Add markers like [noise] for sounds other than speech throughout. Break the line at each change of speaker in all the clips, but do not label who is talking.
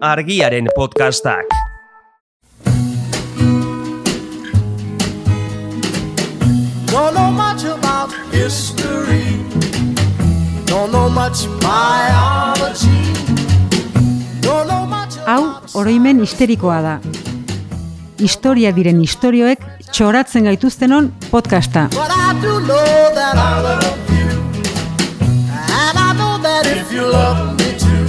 argiaren podcastak.
Don't know much about history. Don't know much biology. Don't know much
Hau,
about
oroimen histerikoa da. Historia diren istorioek txoratzen gaituztenon podcasta.
But I do know that I love you. And I know that if you love me too,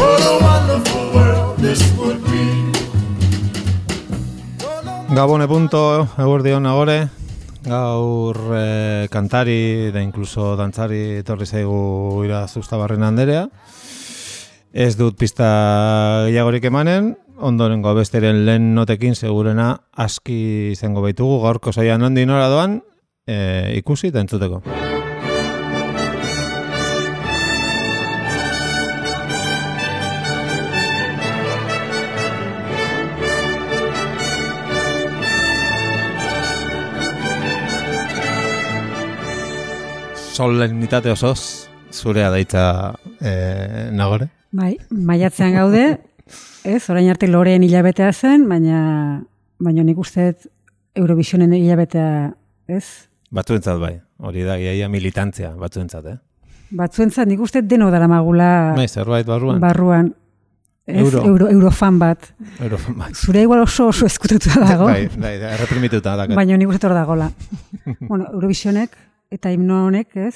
what a wonderful world this would be. Don't know
Gabone e punto, eguerdion agore, gaur eh, kantari da inkluso dantzari etorri zaigu iraz ustabarren handerea. Ez dut pista gehiagorik emanen, ondorengo besteren lehen notekin segurena aski izango baitugu gaurko saian nondi nora doan eh, ikusi eta entzuteko. Solemnitate osoz zurea daitza eh, nagore.
Bai, maiatzean gaude, ez, orain arte loreen hilabetea zen, baina, baina nik uste dut Eurovisionen hilabetea, ez?
Batzuentzat bai, hori da iaia militantzia batzuentzat, eh?
Batzuentzat nik uste dut denok daramagula
Bai, zerbait barruan.
barruan. Ez,
Euro.
euro, eurofan bat.
Eurofan bat.
Zure igual oso oso ezkututua dago.
Bai, bai, da, erreprimituta dakat.
Baina nik uste hor dagola. bueno, Eurovisionek eta himno honek, ez?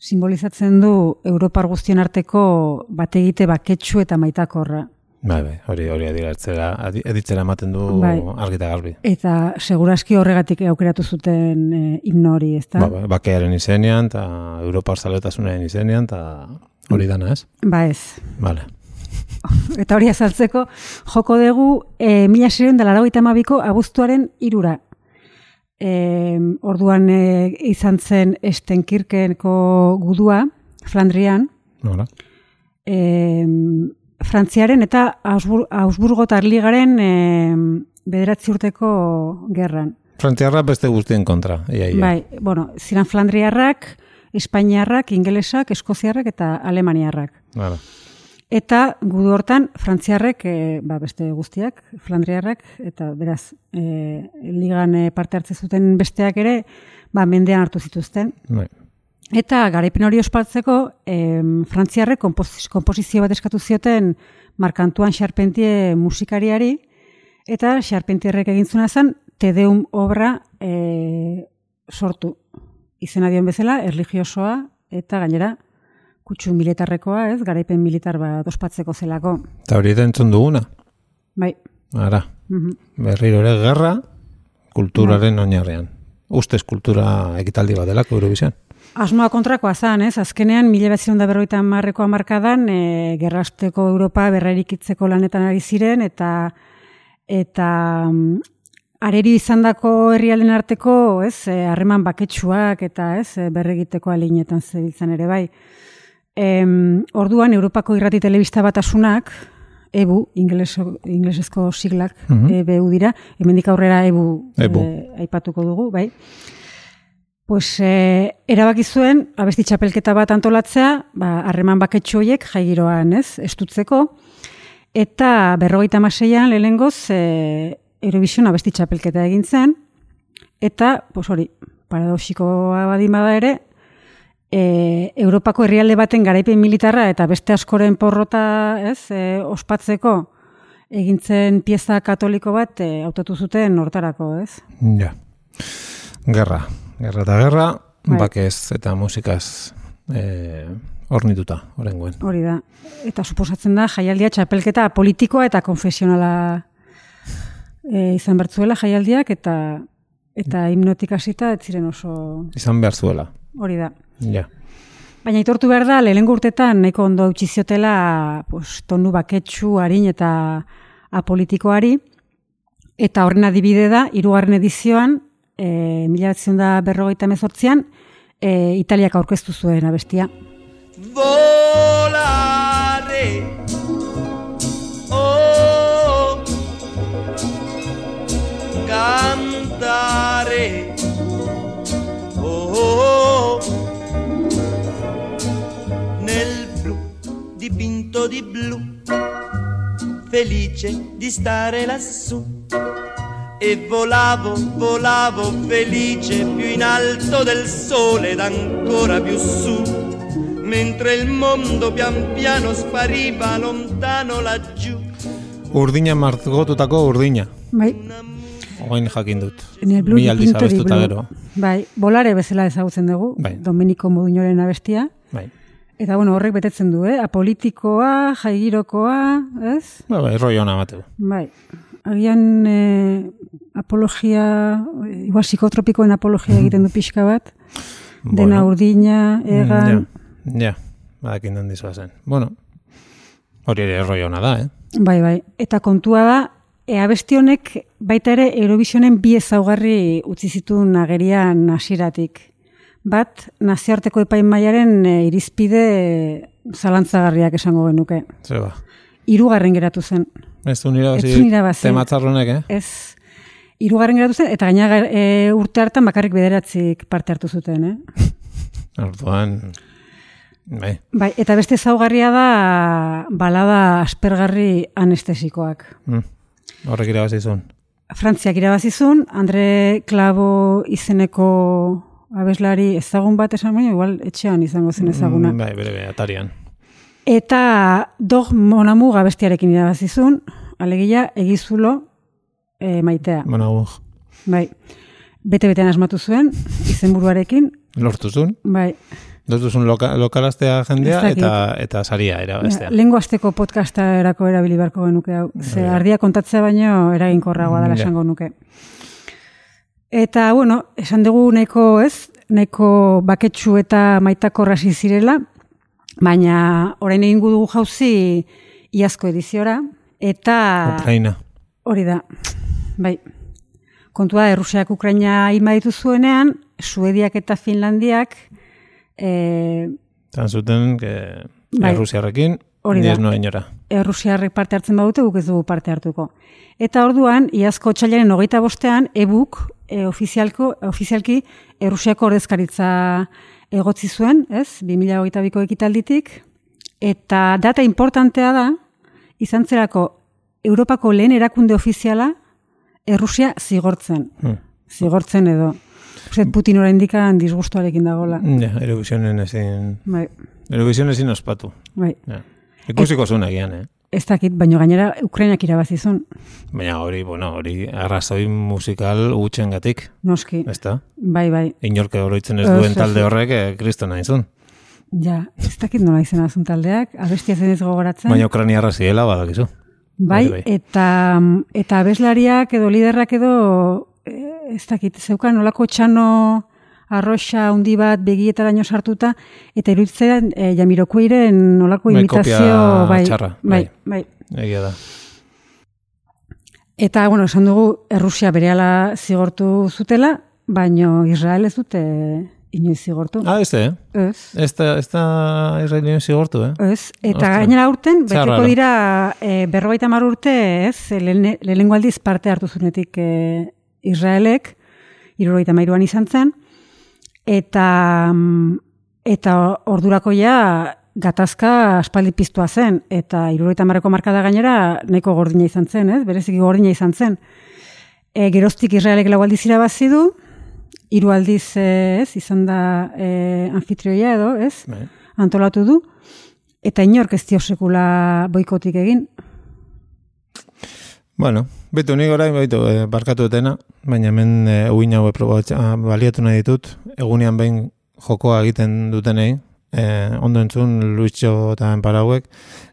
Simbolizatzen du Europar guztien arteko bategite baketsu eta maitakorra.
Bai, bai, hori hori adiratzera, adi- aditzera ematen du
Bai.
argi eta garbi.
Eta seguraski horregatik aukeratu zuten e, himno hori, ez da?
Ba, ba, bakearen izenean, eta Europar zaletasunaren izenean, eta hori dana, ez?
Ba ez.
Bale.
Eta hori azaltzeko, joko dugu e, mila sirien da laragoita mabiko abuztuaren irura. E, orduan e, izan zen Estenkirkenko gudua, Flandrian,
Nola?
e, Frantziaren eta Ausbur, Ausburgo Ligaren e, bederatzi urteko gerran.
Frantziarra beste guztien kontra, ia, ia.
Bai, bueno, ziren Flandriarrak, Espainiarrak, Ingelesak, Eskoziarrak eta Alemaniarrak.
Hala.
Eta gudu hortan, Frantziarrek, e, ba, beste guztiak, Flandriarrak, eta beraz, e, ligan e, parte hartze zuten besteak ere, ba, mendean hartu zituzten.
Bai.
Eta garaipen hori ospatzeko, em, frantziarrek kompoziz- komposizio bat eskatu zioten Markantuan Xarpentie musikariari, eta Xarpentierrek egintzuna zen Tedeum obra e, sortu. Izena dion bezala, erligiosoa eta gainera kutsu militarrekoa, ez, garaipen militar bat ospatzeko zelako.
Eta hori da entzun duguna,
Bai,
ara.
mhm.
Berriro ere gerra, kulturaren oinarrean. Ustez kultura ekitaldi bat delako Eurovision.
Asmoa kontrakoa zan, ez? Azkenean, mila bezion da berroita marreko amarkadan, e, gerrasteko Europa berrerikitzeko lanetan ari ziren, eta eta mm, areri izandako herrialen arteko, ez, e, harreman baketsuak eta, ez, e, berregiteko alinetan zebiltzan ere bai. Em, orduan, Europako irrati telebista batasunak, E EBU, ingleso, inglesezko siglak, EBU dira, hemendik aurrera EBU,
EBU.
eh, aipatuko dugu, bai. Pues, eh, erabaki zuen, abesti txapelketa bat antolatzea, ba, harreman baketxo horiek jaigiroan, ez, estutzeko, eta berrogeita maseian lehenengoz eh, Eurovision abesti txapelketa egin zen, eta, pues hori, paradoxikoa badin bada ere, eh, Europako herrialde baten garaipen militarra eta beste askoren porrota, ez, eh, ospatzeko, egintzen pieza katoliko bat eh, hautatu zuten hortarako, ez?
Ja. Gerra. Gerra eta gerra,
Bai.
bakez eta musikaz eh, ornituta, horrengoen.
Hori da. Eta suposatzen da jaialdia txapelketa politikoa eta konfesionala e, izan bertzuela jaialdiak eta eta himnotik hasita ez ziren oso
Izan behar zuela.
hori da.
Ja.
Baina aitortu behar da, lehenengo urtetan nahiko ondo eutxi ziotela pues, tonu baketsu, harin eta apolitikoari. Eta horren adibide da, irugarren edizioan, e, mila da berrogeita mezortzian, e, Italiak aurkeztu zuen abestia.
volare. Oh, cantare. Oh, nel blu dipinto di blu
felice di stare lassù. E volavo, volavo felice più in alto del sole ed ancora più su. Mentre il mondo pian piano spariva lontano laggiù.
Urdina margotutako urdina.
Bai,
Oain jakin dut.
Ni Blue
Mi aldiz
Pintori
abestuta
Blue.
gero.
Bai, bolare bezala ezagutzen dugu,
Bai.
Dominiko Moduñoren abestia.
Bai.
Eta bueno, horrek betetzen du, eh? Apolitikoa, jaigirokoa, ez?
Ba, bai, roi hona mateu.
Bai. Agian eh, apologia, eh, igual psikotropikoen apologia egiten du pixka bat. Dena urdina, egan.
Mm, Ja, ja. badakin den zen. Bueno, hori ere roi hona da, eh?
Bai, bai. Eta kontua da, ea beste honek baita ere Eurovisionen bi ezaugarri utzi zituen agerian hasieratik. Bat, nazioarteko epaimaiaren eh, irizpide eh, zalantzagarriak esango genuke.
Zer ba.
Hirugarren geratu zen.
Ez du nira
Ez du irabazi.
tematzarronek, eh?
Ez, hirugarren geratu zen, eta gaina e, urte hartan bakarrik bederatzik parte hartu zuten, eh?
Orduan, bai,
Bai, eta beste zaugarria da balada aspergarri anestesikoak.
mm. horrek irabazizun.
Frantziak irabazizun, Andre Klabo izeneko abeslari ezagun bat esan baina, igual etxean izango zen ezaguna.
Bai, bere, bere, atarian.
Eta dog monamu gabestiarekin irabazizun, alegia egizulo e, maitea.
Bueno, uh,
Bai, bete-betean asmatu zuen, izenburuarekin,
lortuzun,
bai,
lortuzun loka, lokalaztea jendea
Ez dakit.
eta eta saria
Ja,
irabaztea.
Lengo asteko podcasta erako erabili beharko genuke hau. Ze ardia kontatzea baino eraginkorragoa dela
Ja.
esango nuke. Eta, bueno, esan dugu nahiko ez, nahiko baketsu eta maitako rasi zirela, baina orain egingo dugu jauzi iazko ediziora, eta
Ukraina.
hori da, bai, kontua da, Errusiak Ukraina ima ditu zuenean, Suediak eta Finlandiak, eh,
Tan zuten, que
Bai.
Errusiarrekin,
Hori
ni
da.
ez noa inora.
errusiarrek e, parte hartzen badute, guk ez dugu parte hartuko. Eta orduan, iazko txailaren hogeita bostean, ebuk e, ofizialko, ofizialki errusiako ordezkaritza egotzi zuen, ez? 2008 biko ekitalditik. Eta data importantea da, izan zerako Europako lehen erakunde ofiziala Errusia zigortzen.
Hmm.
Zigortzen edo. Uste, dut Putin oraindik disgustuarekin dagola.
Ja, Eurovisionen ezin,
Bai,
Eurovisionen ezin ospatu.
bai.
Ja. Ikusiko zuen egian, eh?
Ez dakit, baino gainera Ukrainak irabazizun.
Baina hori, bueno, hori arrazoi musikal gutxen gatik,
Noski.
ez da?
Bai, bai.
Inorke oroitzen ez
Ez,
duen
ez,
talde
ez.
horrek, eh, kristo nahi zuen.
Ja, ez dakit nola izena zuen taldeak, abestia zen ez gogoratzen.
Baina Ukrainiarra ziela badakizu.
bai,
bai, bai.
eta, eta abeslariak edo liderrak edo, eh, ez dakit, zeukan nolako txano arroxa handi bat begietaraino sartuta, eta iruditzen e, jamirokuiren nolako
Bai,
imitazio,
kopia
bai,
txarra,
bai,
bai.
bai.
Egia da.
Eta, bueno, esan dugu, Errusia berehala zigortu zutela, baino Israel ez dute eh, inoiz zigortu.
Ah, ez, eh?
Ez.
Ez da, ez da Israelien zigortu, eh?
Ez, eta
Ostra.
gainera urten,
Zer
beteko
raro.
dira e, berrogeita hamar urte, ez, lehen- lehenengo aldiz parte hartu zunetik e, Israelek, irurogeita mairuan izan zen, eta, mm, eta ordurako ja gatazka aspaldi piztua zen, eta irurogeita marreko markada gainera nahiko gordina izan zen, ez, bereziki gordina izan zen. E, geroztik Israelek lau aldiz irabazi du, hiru aldiz eh, ez, izan da e, anfitrioia edo, ez,
Bai.
antolatu du, eta inork ez dio sekula boikotik egin.
Bueno, bitu nik orain baitu eh, barkatu etena, baina hemen eh, uin hau ah, baliatu nahi ditut, egunean behin jokoa egiten dutenei, eh, ondo entzun Luitxo eta Enparauek,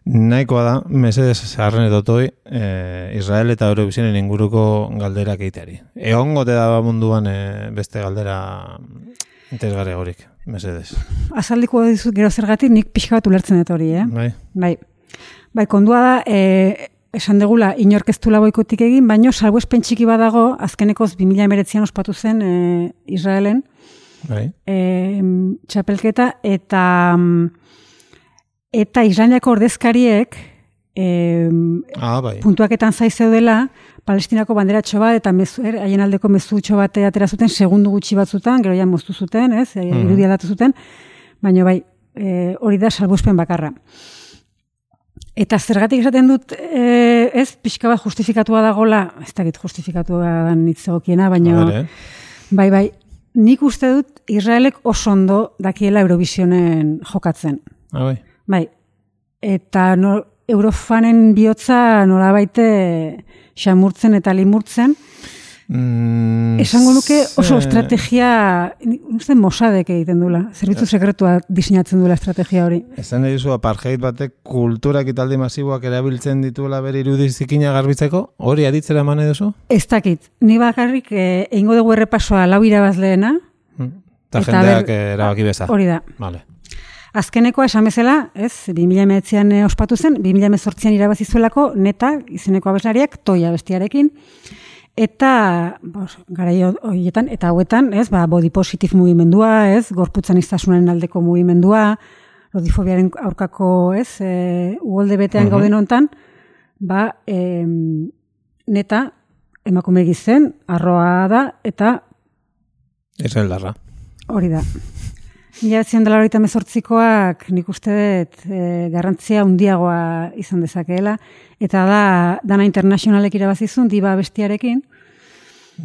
nahikoa da, mesedes harren edotoi, eh, Israel eta Eurovisionen inguruko galderak egiteari. Egon gote da munduan eh, beste galdera interesgarri horik, mesedes.
Eh? Azaldiko dizut gero zergatik nik pixka bat ulertzen dut hori, eh?
Bai?
Bai. Bai, kondua da, e, esan degula, inork ez duela boikotik egin, baino salbuespen txiki badago, azkenekoz 2019an ospatu zen e, Israelen
Bai?
e, txapelketa, eta mm, eta Israeliako ordezkariek em,
Ah, bai.
puntuaketan zai zeudela, Palestinako banderatxo bat eta mezu, er, haien aldeko mezutxo bat atera zuten, segundu gutxi batzutan, gero ja moztu zuten, ez, mm
Mhm.
eh, irudia datu zuten, baina bai, e, hori da salbuespen bakarra. Eta zergatik esaten dut, e, ez, pixka bat justifikatua dagola, ez dakit justifikatua den itzegokiena, baina...
A ber, eh?
Bai, bai, nik uste dut Israelek oso ondo dakiela Eurovisionen jokatzen.
Ah, bai.
Bai, eta no, Eurofanen bihotza nolabait eh, xamurtzen eta limurtzen,
Mm,
esango nuke oso
ze-
estrategia, nik uste mosadek egiten dula, zerbitzu sekretua diseinatzen dula estrategia hori.
Esan nahi duzu apartheid batek kultura ekitaldi masiboak erabiltzen dituela bere irudizikina garbitzeko, hori aditzera eman nahi duzu?
Ez dakit, ni bakarrik eh, egingo dugu errepasoa lau irabazleena,
Mm. Eta
Eta
jendeak
ber-
erabaki beza.
hori da.
Vale.
Azkenekoa esan bezala, ez, 2019an eh, ospatu zen, 2018an irabazi zuelako, neta, izeneko abeslariak, toia bestiarekin, eta, bos, garai ho- horietan, eta hauetan, ez, ba, body positive mugimendua, ez, gorputzan iztasunaren aldeko mugimendua, rodifobiaren aurkako, ez, e, uolde betean gauden hontan, ba, em, neta, emakume gizen, arroa da, eta
Israeldarra.
Hori da. Mila betzen dela horita mezortzikoak nik uste dut e, garrantzia handiagoa izan dezakeela. Eta da, dana internazionalek irabazizun, diba bestiarekin.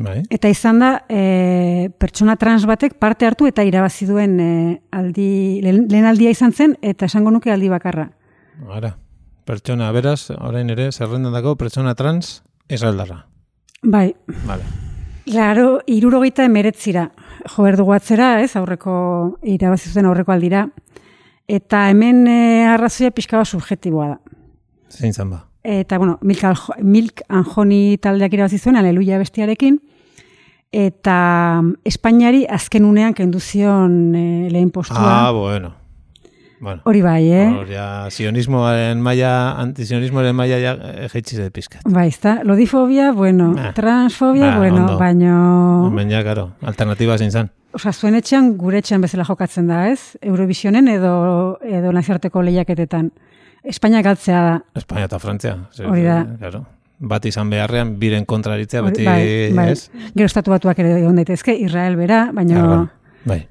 Bai.
Eta izan da, e, pertsona trans batek parte hartu eta irabazi duen e, aldi, lehen, lehen aldia izan zen, eta esango nuke aldi bakarra.
Ara. Pertsona, beraz, orain ere, zerrendan dago, pertsona trans, Israeldarra.
Bai,
Vale.
laro, irurogeita emeretzira. Jo behar dugu atzera, ez, aurreko irabazi zuten aurreko aldira. Eta hemen e, arrazoia pixka bat subjektiboa da.
Zein zan ba.
Eta, bueno, Milk, Aljo- Milk Anjoni taldeak irabazi zuen, Aleluia bestiarekin. Eta mm, Espainiari azken unean kendu zion eh, lehen postua.
Ah, bueno. Bueno.
Hori bai, eh?
Hor, ja, zionismoaren maila, antizionismoaren maila ja eh, jaitsi zait pizkat.
Bai, ezta? Lodifobia, bueno.
Ah.
transfobia,
Ba,
bueno.
ondo.
Baino,
Hemen ja, karo, alternatiba zein zan.
Osa, zuen etxean gure etxean bezala jokatzen da, ez? Eurovisionen edo, edo nazarteko lehiaketetan. Espainia galtzea da.
Espainia eta Frantzia. Zer,
Hori da.
Claro. Bat izan beharrean, biren kontraritzea,
Hori-
beti, ez?
Bai, Gero estatu batuak ere egon daitezke, Israel bera, baino...
Claro, bueno, bai.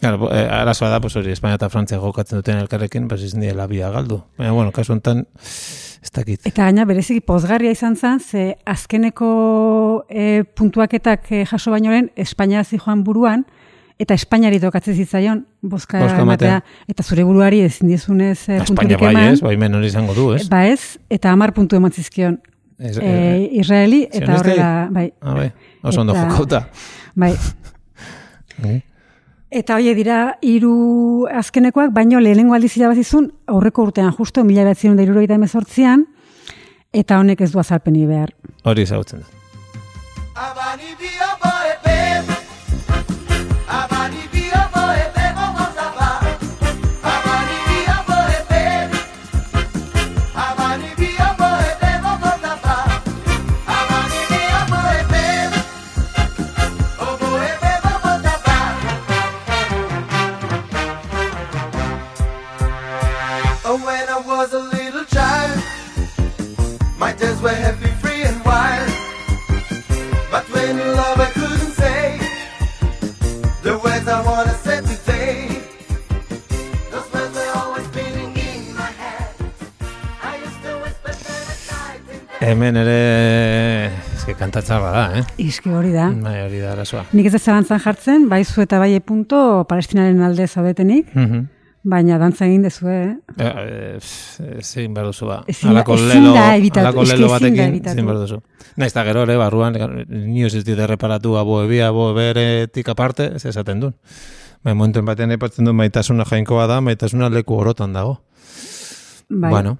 Claro, bo- eh, arazoa da, pues hori, Espainia eta Frantzia jokatzen duten elkarrekin, pues izan diela bia galdu. Baina, bueno, kasu honetan, ez dakit.
Eta gaina bereziki pozgarria izan zen, ze azkeneko e, puntuaketak e, jaso baino lehen Espainia zi joan buruan, eta Espainiari tokatzen zitzaion boska,
Bozka ematea.
ematea. Eta zure buruari ezin dizunez e,
Espainia
punturik
bai
eman.
ez, baimen hori izango du, ez?
Ba ez, eta hamar puntu eman zizkion.
Ez-
E,
eh,
Israeli, eta
Zionistei?
horrela, bai,
ah, bai, oso ondo
eta-
jokauta.
bai.
Eh?
Eta horiek dira hiru azkenekoak, baino lehenengo aldiz irabazizun aurreko urtean justo, mila behatzen da irurogeita emezortzian, eta honek ez du azalpeni behar.
Hori ezagutzen da.
Abani bia boe bebo Abani bia boe bebo gozaba Abani bia boe bebo Abani bia boe bebo gozaba Abani bia boe bebo O boe bebo gozaba Oh, when I was a little child My days were happy, free and wild but when in love I couldn't say the words I wanna say today. Those words are always spinning in my head. I used to whisper them at night in bed.
Hemen ere, eske kantatzarra da, eh?
Iski hori da.
Bai, hori da arazoa.
Nik ez da zalantzan jartzen, bai zu eta bai punto palestinaren alde zaudetenik,
Mhm.
baina dantza egin dezue, eh?
Eh, eh, pff, Ezin behar duzu ba.
Ezin da-
Halako
ezin
lelo,
da ebitatu,
halako
eske
lelo
ezin da
batekin
ebitatu.
ezin behar duzu. Naiz eta gero ere, barruan, nio ez dit erreparatu abo ebia, abo eberetik aparte, ez esaten duen. Bai, momentuen batean aipatzen du maitasuna jainkoa da, maitasuna leku orotan dago.
Bai.
Bueno,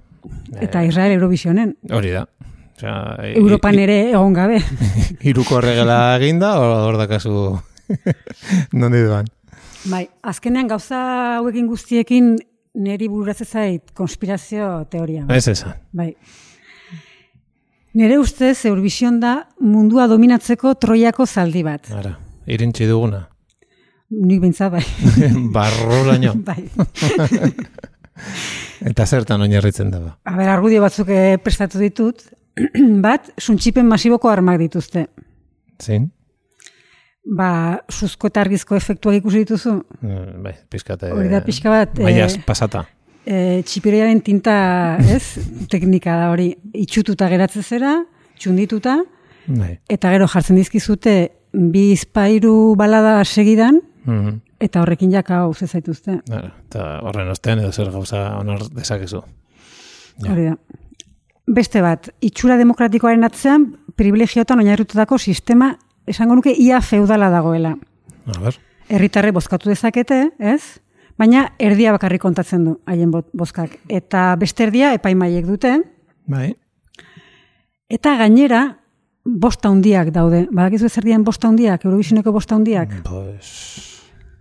eh.
Eta Israel Eurovisionen.
hori da. Osea, i-
Europan ere egon
[laughs]
gabe.
i- Hiruko erregela eginda, hor hor dakazu [laughs] nondi doan.
bai, azkenean gauza hauekin guztiekin neri bururatzen zait konspirazio teoria. bat.
Ez esan.
Bai. Nere ustez Eurovision da mundua dominatzeko Troiako zaldi bat.
Ara, irintzi duguna. [laughs]
Nik behintzat bai. [laughs]
Barroraino.
bai.
Eta zertan oinarritzen da ba.
A ber, argudio batzuk eh, prestatu ditut. [clears throat] bat, suntxipen masiboko armak dituzte.
Zin?
Ba, suzko eta argizko efektuak ikusi dituzu?
Mm, Bai, pizkate...
Hori da pixka bat,
Baina
eh,
pasata.
e, txipirearen tinta, ez, teknika da hori, itxututa geratzen zera, txundituta,
Bai.
eta gero jartzen dizkizute bi izpairu balada segidan,
Mhm.
eta horrekin jaka hau zezaituzte.
Ara, Ah, Eta horren ostean edo zer gauza onar dezakezu. Ja.
Hori da. Beste bat, itxura demokratikoaren atzean privilegiotan oinarritutako sistema esango nuke ia feudala dagoela.
A ber.
Herritarre bozkatu dezakete, ez? Baina erdia bakarrik kontatzen du haien bo- bozkak. Eta beste erdia epaimaiek dute,
Bai.
eta gainera bosta hundiak daude. Badakizu ez erdian bosta hundiak, Eurovisioneko bosta hundiak.
Pues...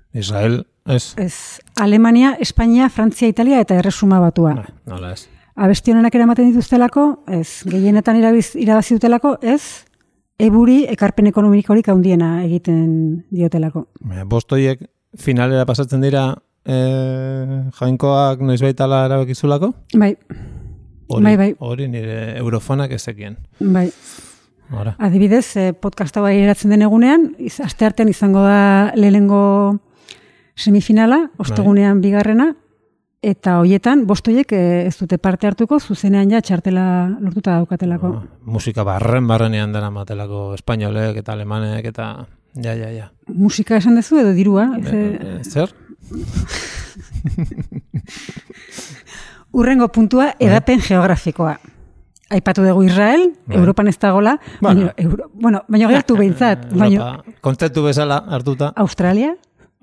Israel, ez?
Ez, Alemania, Espainia, Frantzia, Italia eta Erresuma batua.
Bai, Nola ez.
abesti honenak eramaten dituztelako, ez, gehienetan irabiz, irabazi dutelako, ez, eburi ekarpen ekonomikorik handiena egiten diotelako.
Baina, Bostoiek finalera pasatzen dira eh, jainkoak noizbait ala erabakizulako?
Bai,
Hori,
Bai, bai.
hori nire eurofonak ez zekien.
bai.
Hora.
Adibidez, eh, podcast hau eratzen den egunean, iz, aste artean izango da lehenengo semifinala,
Bai.
ostegunean bigarrena, eta hoietan, bostoiek eh, ez dute parte hartuko, zuzenean ja txartela lortuta daukatelako.
Ah, musika barren barrenean dara matelako espainolek eta alemanek eta ja, ja, ja.
Musika esan dezu edo dirua? Ez,
E,
eh,
e, zer?
Urrengo puntua edapen geografikoa. Aipatu dugu Israel,
Bai.
Europan ez dagola,
Bueno.
baina, Euro, bueno, baina gertu behintzat,
[laughs]
baina Ah.
Europa, kontzeptu bezala hartuta,
Australia,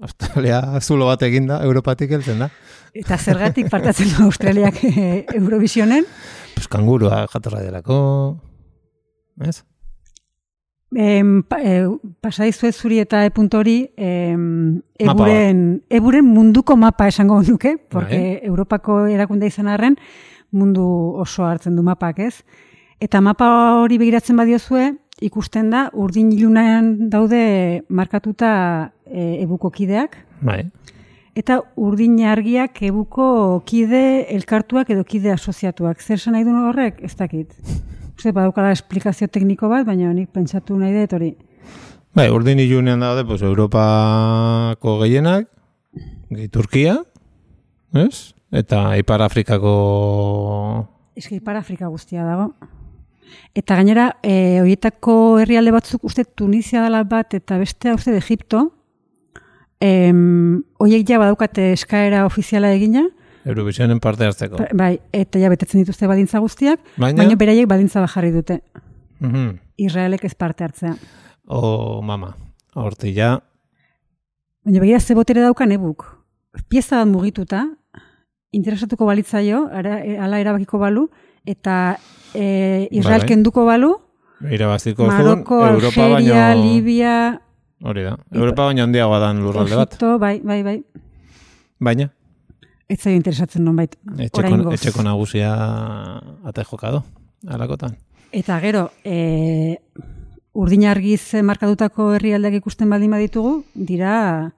Australia zulo bat eginda, Europatik heltzen da.
eta
[laughs]
zergatik partatzen du Australiak eh, Eurovisionen,
Pues kangurua jatorra delako, ez?
em, pa, eh, pasadizuet zuri eta e punto hori em,
Mapa bat.
eburen, eburen munduko mapa esango nuke, porque
Bai.
Europako erakunde izan arren mundu oso hartzen du mapak, ez? Eta mapa hori begiratzen badiozue, ikusten da urdin ilunan daude markatuta e, ebuko kideak,
Bai,
eta urdin argiak ebuko kide elkartuak edo kide asoziatuak. Zer esan nahi duen horrek? Ez dakit. Uste, badaukala esplikazio tekniko bat, baina nik pentsatu nahi dut hori.
bai urdin ilunean daude, pues, Europako gehienak, gehi Turkia, ez? Eta Ipar Afrikako...
Eski ipar Afrika guztia dago. Eta gainera, e, horietako herrialde batzuk, uste Tunisia dela bat eta bestea uste de Egipto, em, hoiek ja badaukate eskaera ofiziala egina,
Eurovisionen parte hartzeko.
Ba- bai, eta ja betetzen dituzte badintza guztiak,
Baina?
baina, beraiek badintza bajarri dute.
Mhm.
Israelek ez parte hartzea.
O mama, horti ja,
Baina begira ze botere daukan ebuk. Pieza bat mugituta, interesatuko balitzaio, ara, e, ala erabakiko balu, eta e, Israel
Bai.
kenduko balu,
irabaziko zuen,
Maroko,
Europa
Algeria,
baino...
Libia,
Hori da, Europa baino handiagoa dan lurralde bat.
Egipto, bai, bai, bai.
Baina,
Ez zaio interesatzen nonbait.
etxeko,
oraingoz.
etxeko nagusia ate jokado, alakotan.
Eta gero, e, urdin argiz markadutako herrialdeak ikusten baldin baditugu, dira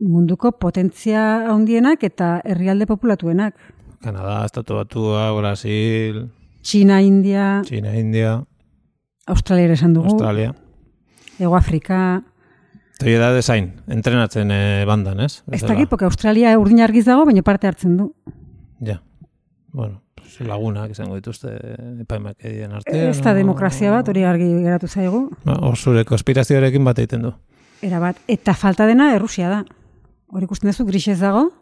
munduko potentzia handienak eta herrialde populatuenak.
Kanada, Estatu Batua, Brasil,
Txina, India,
Txina, India,
Australia ere esan dugu,
Australia.
Ego Afrika,
Toi da desain, entrenatzen eh, bandan, ez?
Ez
Bezala.
dakit, porque Australia urdin argiz dago, baina parte hartzen du.
Ja. Bueno, pues, lagunak izango dituzte epaimak edien artean.
Ez da demokrazia bat, hori argi geratu zaigu.
Ba, Hor zure konspirazioarekin bat egiten du.
Era bat, eta falta dena Errusia da. Hor ikusten duzu, grisez dago,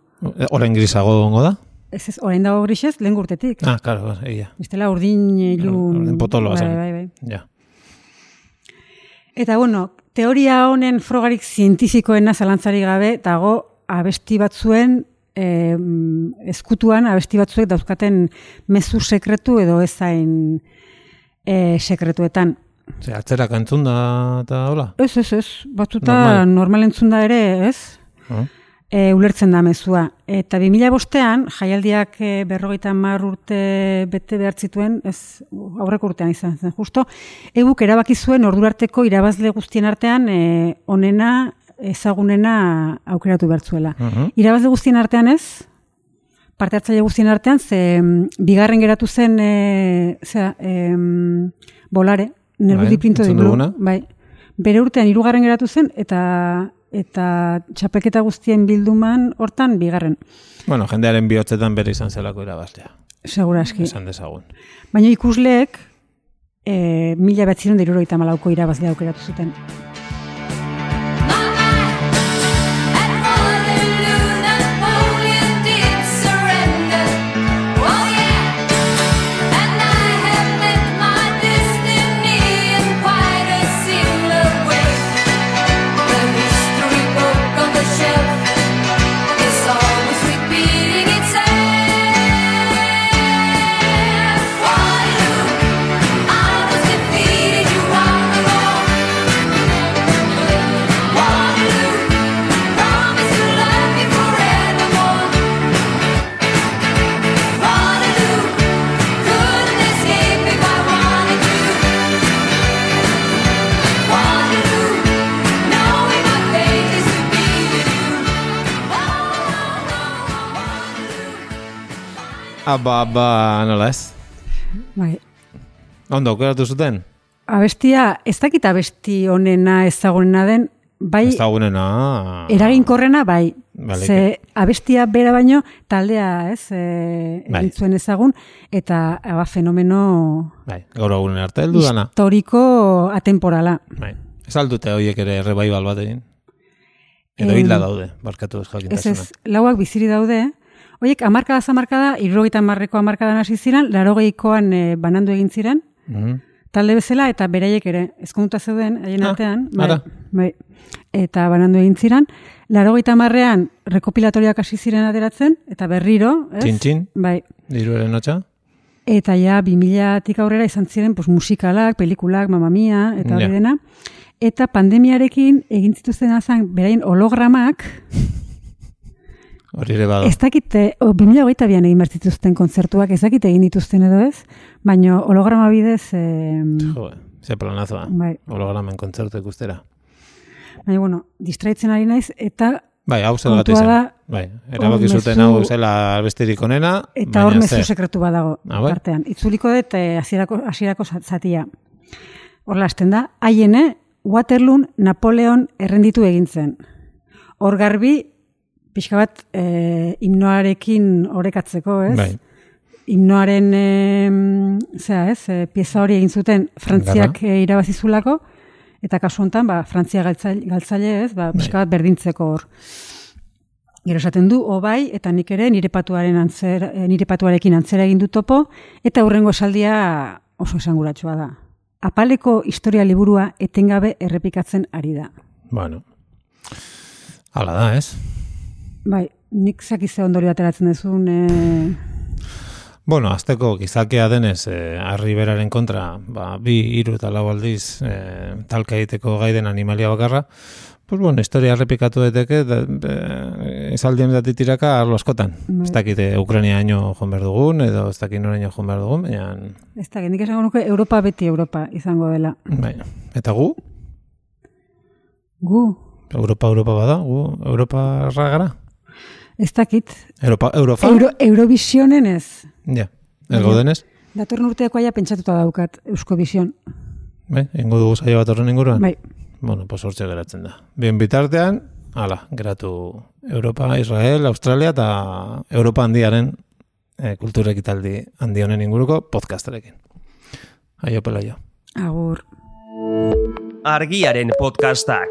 Oren Eh, grisago ongo da?
ez ez, orain dago grisez, lehen gurtetik.
Ah, karo, egia.
Bestela urdin ilun...
Urdin potoloa
bai,
zen.
bai, bai.
Ja.
Eta bueno, teoria honen frogarik zientifikoena zalantzari gabe, dago abesti batzuen eh, eskutuan abesti batzuek dauzkaten mezu sekretu edo ezain eh, sekretuetan.
Ze, atzerak entzun da eta hola?
Ez, ez, ez. Batzuta
Normal.
normal, entzun da ere, ez?
Ah.
E, ulertzen da mezua. Eta 2000 bostean, jaialdiak e, berrogeita mar urte bete behar zituen, ez aurreko urtean izan zen, justo, ebuk erabaki zuen ordurarteko irabazle guztien artean e, onena, ezagunena aukeratu behar zuela.
Mhm.
Irabazle guztien artean ez, parte hartzaile guztien artean, ze mm, bigarren geratu zen, e, zera, em, bolare,
Bai,
Nerbudi Pinto de
entzun
Blue.
duguna.
Bai. Bere urtean hirugarren geratu zen eta eta txapelketa guztien bilduman hortan bigarren.
Bueno, jendearen bihotzetan bere izan zelako irabaztea.
Segurazki.
Esan dezagun.
Baina ikusleek e, mila betzirun dirurogeita malauko irabazle aukeratu zuten.
Aba, aba, nola ez?
Bai.
Ondo, aukeratu zuten?
Abestia, ez dakit abesti onena ezagunena den, bai,
Ez dagoenena...
eraginkorrena bai.
Baleke.
Ze abestia bera baino taldea, ez, e,
Bai.
egin zuen ezagun, eta ba, fenomeno
Bai, gaur egunen arte heldu dana.
historiko atemporala.
Bai. Ez aldute horiek ere revival bat egin. Edo
Em,
hilda daude, barkatu ez
Ez
jakintasuna.
ez, lauak biziri daude, hoiek hamarkada zamarkada, irrogeita marreko hamarkadan hasi ziren, larogeikoan e, banandu egin ziren,
Mhm.
talde bezala eta beraiek ere ezkomuta zeuden haien
Ah,
artean
ara.
bai, eta banandu egin ziren laurogeita marrean rekopilatoriak hasi ziren ateratzen eta berriro ez?
Txin, txin.
bai
Diruaren hotxa?
Eta ja, 2000-tik aurrera izan ziren pues, musikalak, pelikulak, mamamia, eta hori
Ja.
dena. Eta pandemiarekin egin zituzten azan beraien hologramak,
Hori ere bado.
ez dakit, eh, o, 2008an egin behar zituzten kontzertuak, ez dakit egin dituzten edo ez, baina holograma bidez, em,
Jo, ze planazoa.
Bai.
Hologramen kontzertu ikustera.
baina bueno, distraitzen ari naiz, eta
Bai, hau zelgatu
Kontua
izan.
da,
bai, erabaki
hor
zuten
mezu-
hau zela besterik onena.
Eta hor
baina
mezu
ze.
sekretu badago
Ah, bai?
tartean. Itzuliko dut eh, hasierako hasierako za- zatia. Hor lasten da, haiene Waterloo Napoleon errenditu egin zen. Hor garbi pixka bat eh, himnoarekin orekatzeko, ez?
Bai.
Himnoaren eh, zera, ez? eh, pieza hori egin zuten Frantziak eh, irabazizulako eta kasu honetan ba Frantzia galtzaile, galtzaile ez? Ba, pixka bat berdintzeko hor. Gero esaten du, obai, eta nik ere nire patuaren antzer, eh, nire patuarekin antzera egin du topo, eta hurrengo esaldia oso esanguratsua da. Apaleko historia liburua etengabe errepikatzen ari da.
Bueno. Hala da, ez?
Bai, nik zakize ondorio ateratzen dezun, eh,
Bueno, azteko gizakia denez, eh, arriberaren kontra, ba, bi, hiru eta lau aldiz eh, talka egiteko gaiden animalia bakarra, pues bueno, historia errepikatu daiteke, da, eh, esaldian dati tiraka arlo askotan. Ez dakite Ukraniaino joan behar dugun, edo ez dakit noraino joan behar dugun, baina,
ez da, nik esango nuke Europa beti Europa izango dela.
baina, bai. eta gu,
Gu,
Europa Europa bada, gu Europa gara.
ez dakit,
Europa, Europa,
Euro, Eurovisionen ez.
ja, ez gaudenez,
Datorren urteako aia pentsatuta daukat Euskovision.
bai, ingo dugu saio bat horren inguruan.
Bai,
Bueno, pues hortxe geratzen da. Bien bitartean, ala, geratu Europa, Israel, Australia eta Europa handiaren eh, kultura ekitaldi handi honen inguruko podcastarekin. Aio pelaio.
agur.
Argiaren podcastak.